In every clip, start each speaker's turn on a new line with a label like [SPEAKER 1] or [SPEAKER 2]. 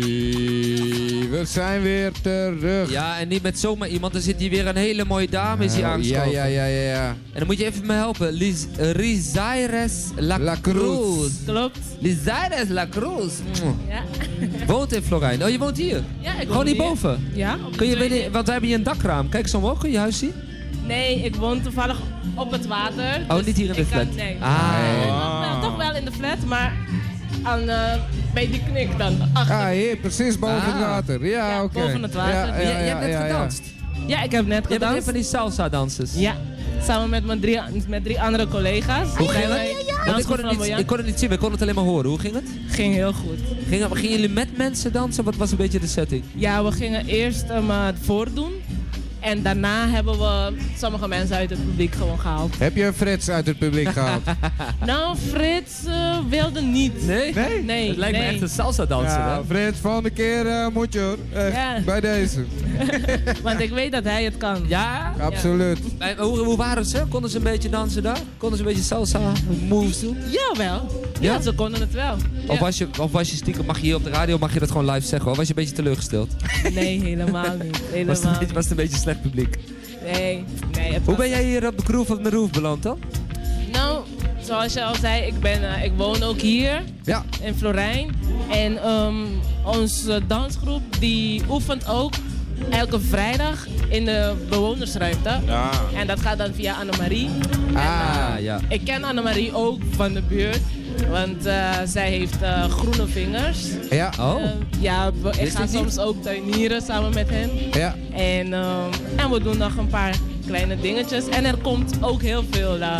[SPEAKER 1] Bobby, we zijn weer terug.
[SPEAKER 2] Ja, en niet met zomaar iemand. Er zit hier weer een hele mooie dame is hier
[SPEAKER 1] Oh, ja,
[SPEAKER 2] aangeschoven.
[SPEAKER 1] ja, ja, ja, ja.
[SPEAKER 2] En dan moet je even me helpen. Liz, eh, Rizaires La,
[SPEAKER 1] La Cruz.
[SPEAKER 2] Cruz.
[SPEAKER 3] Klopt.
[SPEAKER 2] Lizaires La Cruz. Mm.
[SPEAKER 3] Ja.
[SPEAKER 2] Woont in Florijn. Oh, je woont hier?
[SPEAKER 3] ja ik
[SPEAKER 2] Gewoon
[SPEAKER 3] woon
[SPEAKER 2] hierboven?
[SPEAKER 3] Ja. op
[SPEAKER 2] Kun je,
[SPEAKER 3] de tweede-
[SPEAKER 2] weet je- want we hebben hier een dakraam. Kijk eens omhoog, kun je huis zien?
[SPEAKER 3] Nee, ik woon toevallig op het water.
[SPEAKER 2] Oh,
[SPEAKER 3] dus
[SPEAKER 2] niet hier in de
[SPEAKER 3] ik kan-
[SPEAKER 2] flat.
[SPEAKER 3] nee.
[SPEAKER 2] Ah.
[SPEAKER 1] Nee.
[SPEAKER 3] Toch wel- Toch wel in de flat, maar aan, eh, bij die knik dan. Achter.
[SPEAKER 1] Ah, hier, precies boven
[SPEAKER 2] Ah.
[SPEAKER 1] het water. Ja,
[SPEAKER 3] Ja,
[SPEAKER 1] oké.
[SPEAKER 3] boven het water.
[SPEAKER 2] Je, je hebt net
[SPEAKER 1] ja, ja.
[SPEAKER 2] gedanst.
[SPEAKER 3] Ja, ik heb net
[SPEAKER 2] Je bent een
[SPEAKER 3] gedanst.
[SPEAKER 2] van die salsa-dansers.
[SPEAKER 3] Ja, samen met mijn drie, met drie andere collega's. Eh,
[SPEAKER 2] Hoe
[SPEAKER 3] Zijn
[SPEAKER 2] ging
[SPEAKER 3] wij-
[SPEAKER 2] het? Want
[SPEAKER 3] Dans
[SPEAKER 2] ik, kon het niet,
[SPEAKER 3] Flamboyant.
[SPEAKER 2] ik kon het niet zien, maar ik kon het alleen maar horen. Hoe ging het?
[SPEAKER 3] Ging heel goed.
[SPEAKER 2] Gingen, gingen jullie met mensen dansen? Wat was een beetje de setting?
[SPEAKER 3] Ja, we gingen eerst hem eh, het voordoen. En daarna hebben we sommige mensen uit het publiek gewoon gehaald.
[SPEAKER 1] Heb je Frits uit het publiek gehaald?
[SPEAKER 3] Nou, Frits eh, wilde niet.
[SPEAKER 2] Nee?
[SPEAKER 1] Nee?
[SPEAKER 3] Nee,
[SPEAKER 2] Het lijkt me
[SPEAKER 3] nee.
[SPEAKER 2] echt een salsa-danser,
[SPEAKER 1] Ja, Frits, volgende keer eh, moet je hoor. Echt,
[SPEAKER 3] Ja.
[SPEAKER 1] Bij deze.
[SPEAKER 3] Want ik weet dat hij het kan.
[SPEAKER 2] Ja?
[SPEAKER 1] Absoluut.
[SPEAKER 2] Eh, Hoe, hoe waren ze? Konden ze een beetje dansen daar? Konden ze een beetje salsa moves doen?
[SPEAKER 3] Jawel.
[SPEAKER 2] Ja?
[SPEAKER 3] Ja, ze konden het wel.
[SPEAKER 2] Of,
[SPEAKER 3] Ja.
[SPEAKER 2] was je, of was je stiekem, mag je hier op de radio, mag je dat gewoon live zeggen hoor? Was je een beetje teleurgesteld?
[SPEAKER 3] Nee, helemaal niet.
[SPEAKER 2] Was het, een
[SPEAKER 3] Helemaal
[SPEAKER 2] beetje, was het een beetje slecht publiek?
[SPEAKER 3] niet. Nee, nee. het
[SPEAKER 2] Hoe
[SPEAKER 3] was-
[SPEAKER 2] ben jij hier op de groove of de roof beland dan?
[SPEAKER 3] Nou, zoals je al zei, ik, ben, eh, ik woon ook hier
[SPEAKER 1] Ja,
[SPEAKER 3] in Florijn. En ehm, onze dansgroep die oefent ook elke vrijdag in de bewonersruimte. En dat gaat dan via Annemarie. En, eh,
[SPEAKER 2] Ah, ja.
[SPEAKER 3] Ik ken Annemarie ook van de buurt. Want eh, zij heeft eh, groene vingers.
[SPEAKER 1] ja,
[SPEAKER 2] Oh,
[SPEAKER 3] Eh, ja, we- ik
[SPEAKER 2] Wist
[SPEAKER 3] ga
[SPEAKER 2] ik niet.
[SPEAKER 3] soms ook tuinieren samen met hen.
[SPEAKER 1] ja.
[SPEAKER 3] En, ehm, en we doen nog een paar kleine dingetjes. En er komt ook heel veel eh,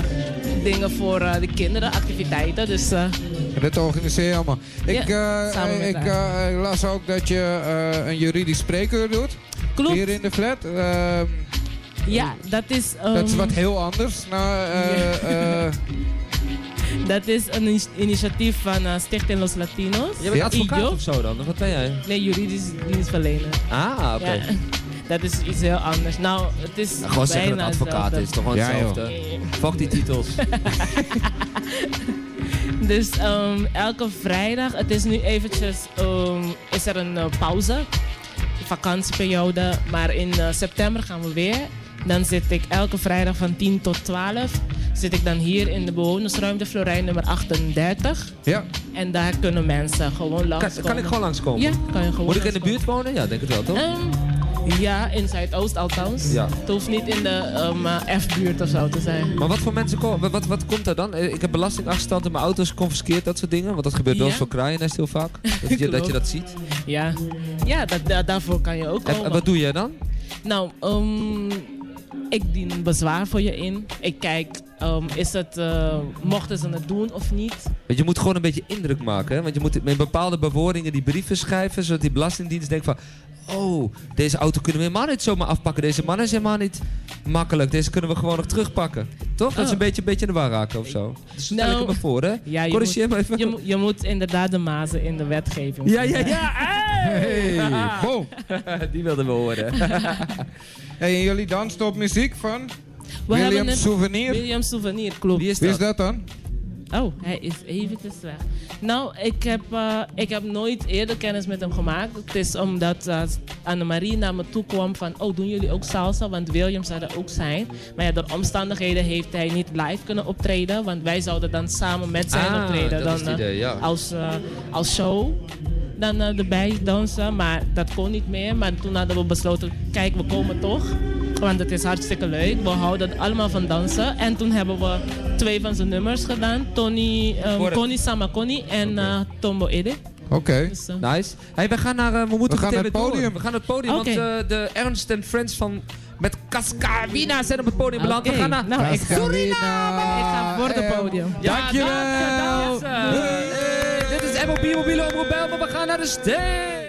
[SPEAKER 3] dingen voor eh, de kinderen, activiteiten. Dus eh,
[SPEAKER 1] Dat organiseer je allemaal. Ik, eh,
[SPEAKER 3] samen met
[SPEAKER 1] ik eh, las ook dat je eh, een juridisch spreker doet.
[SPEAKER 3] klopt.
[SPEAKER 1] Hier in de flat. Ehm,
[SPEAKER 3] Ja, dat is, ehm,
[SPEAKER 1] dat is wat heel anders. Nou, eh, eh,
[SPEAKER 3] dat is een ini- initiatief van eh, Stichting Los Latinos.
[SPEAKER 2] je bent
[SPEAKER 1] Ja.
[SPEAKER 2] advocaat
[SPEAKER 3] IJO.
[SPEAKER 2] of zo dan? Of wat ben jij?
[SPEAKER 3] Nee, juridisch dienstverlener.
[SPEAKER 2] Ah, oké.
[SPEAKER 3] Ja, dat is iets heel anders. Nou, het is
[SPEAKER 2] Gewoon zeggen dat
[SPEAKER 3] bijna
[SPEAKER 2] advocaat
[SPEAKER 3] hetzelfde.
[SPEAKER 2] is, toch gewoon
[SPEAKER 1] Ja, joh.
[SPEAKER 2] hetzelfde. Fuck die titels.
[SPEAKER 3] Dus ehm, elke vrijdag, het is nu eventjes, ehm, is er een eh, pauze, vakantieperiode. Maar in eh, september gaan we weer. Dan zit ik elke vrijdag van 10 tot 12. Zit ik dan hier in de bewonersruimte Florijn nummer 38.
[SPEAKER 1] ja.
[SPEAKER 3] En daar kunnen mensen gewoon langs
[SPEAKER 2] Kan, kan ik gewoon langskomen?
[SPEAKER 3] Ja, kan je gewoon
[SPEAKER 2] Moet ik in de
[SPEAKER 3] langskomen.
[SPEAKER 2] buurt wonen? Ja, denk het wel, toch?
[SPEAKER 3] Ehm, ja, in Zuidoost althans.
[SPEAKER 2] Ja.
[SPEAKER 3] Het hoeft niet in de ehm, eh, F-buurt of zo te zijn.
[SPEAKER 2] Maar wat voor mensen komen? Wat, wat, wat komt er dan? Eh, Ik heb belastingachterstand en mijn auto is geconfiskeerd, dat soort dingen. Want dat gebeurt wel
[SPEAKER 3] Ja.
[SPEAKER 2] eens voor kraaiennest heel vaak. Dat je, dat je dat ziet.
[SPEAKER 3] Ja, ja dat, da- daarvoor kan je ook
[SPEAKER 2] En,
[SPEAKER 3] komen.
[SPEAKER 2] en wat doe jij dan?
[SPEAKER 3] Nou, ehm, ik dien een bezwaar voor je in. Ik kijk, ehm, is het, eh, mochten ze het doen of niet?
[SPEAKER 2] Want je moet gewoon een beetje indruk maken. Hè? Want je moet met bepaalde bewoordingen die brieven schrijven. Zodat die belastingdienst denkt van... Oh, deze auto kunnen we helemaal niet zomaar afpakken. Deze man is helemaal niet makkelijk. Deze kunnen we gewoon nog terugpakken. Toch? Dat ze een
[SPEAKER 3] Oh.
[SPEAKER 2] beetje, een beetje in de war raken of zo. Dus stel
[SPEAKER 3] Nou,
[SPEAKER 2] ik het me voor, hè?
[SPEAKER 3] ja, je
[SPEAKER 2] Corrigeer me even.
[SPEAKER 3] Je, mo- je moet inderdaad de mazen in de wetgeving.
[SPEAKER 2] ja, ja, ja.
[SPEAKER 1] Hey, boom.
[SPEAKER 2] Hey! Die wilden we horen.
[SPEAKER 1] Hey, en jullie dansen op muziek van
[SPEAKER 3] We
[SPEAKER 1] William
[SPEAKER 3] hebben een
[SPEAKER 1] Souvenir.
[SPEAKER 3] William Souvenir, klopt.
[SPEAKER 2] Wie is
[SPEAKER 1] Wie is
[SPEAKER 2] dat?
[SPEAKER 1] dat dan?
[SPEAKER 3] Oh, hij is eventjes weg. Nou, ik heb, eh, ik heb nooit eerder kennis met hem gemaakt. Het is omdat eh, Annemarie naar me toe kwam van... Oh, doen jullie ook salsa? Want William zou er ook zijn. Maar ja, door omstandigheden heeft hij niet live kunnen optreden. Want wij zouden dan samen met zijn
[SPEAKER 2] Ah,
[SPEAKER 3] optreden.
[SPEAKER 2] dat
[SPEAKER 3] dan,
[SPEAKER 2] is het
[SPEAKER 3] eh,
[SPEAKER 2] idee, ja.
[SPEAKER 3] als, eh, als show dan eh, erbij dansen. Maar dat kon niet meer. Maar toen hadden we besloten, kijk, we komen toch. Want het is hartstikke leuk. We houden allemaal van dansen. En toen hebben we twee van zijn nummers gedaan. Tony, ehm,
[SPEAKER 2] Hoor het.
[SPEAKER 3] Connie Samakoni en eh, Tombo Ede.
[SPEAKER 1] Oké.
[SPEAKER 3] Dus, eh,
[SPEAKER 2] Nice. Hey, we gaan naar, eh, we moeten
[SPEAKER 1] We gaan
[SPEAKER 2] meteen
[SPEAKER 1] naar het
[SPEAKER 2] weer door.
[SPEAKER 1] podium.
[SPEAKER 2] We gaan naar het podium,
[SPEAKER 3] Oké.
[SPEAKER 2] want eh, de Ernst and Friends van met Cascarina zijn op het podium beland. We
[SPEAKER 3] oké.
[SPEAKER 2] gaan naar
[SPEAKER 3] nou, ik,
[SPEAKER 1] Suriname.
[SPEAKER 3] nou, ik ga voor de podium.
[SPEAKER 2] Ehm, Ja,
[SPEAKER 1] Dankjewel.
[SPEAKER 2] dank je, dank je. Dit is MOB Mobiele Omroep Bijlmer. We gaan naar de stage.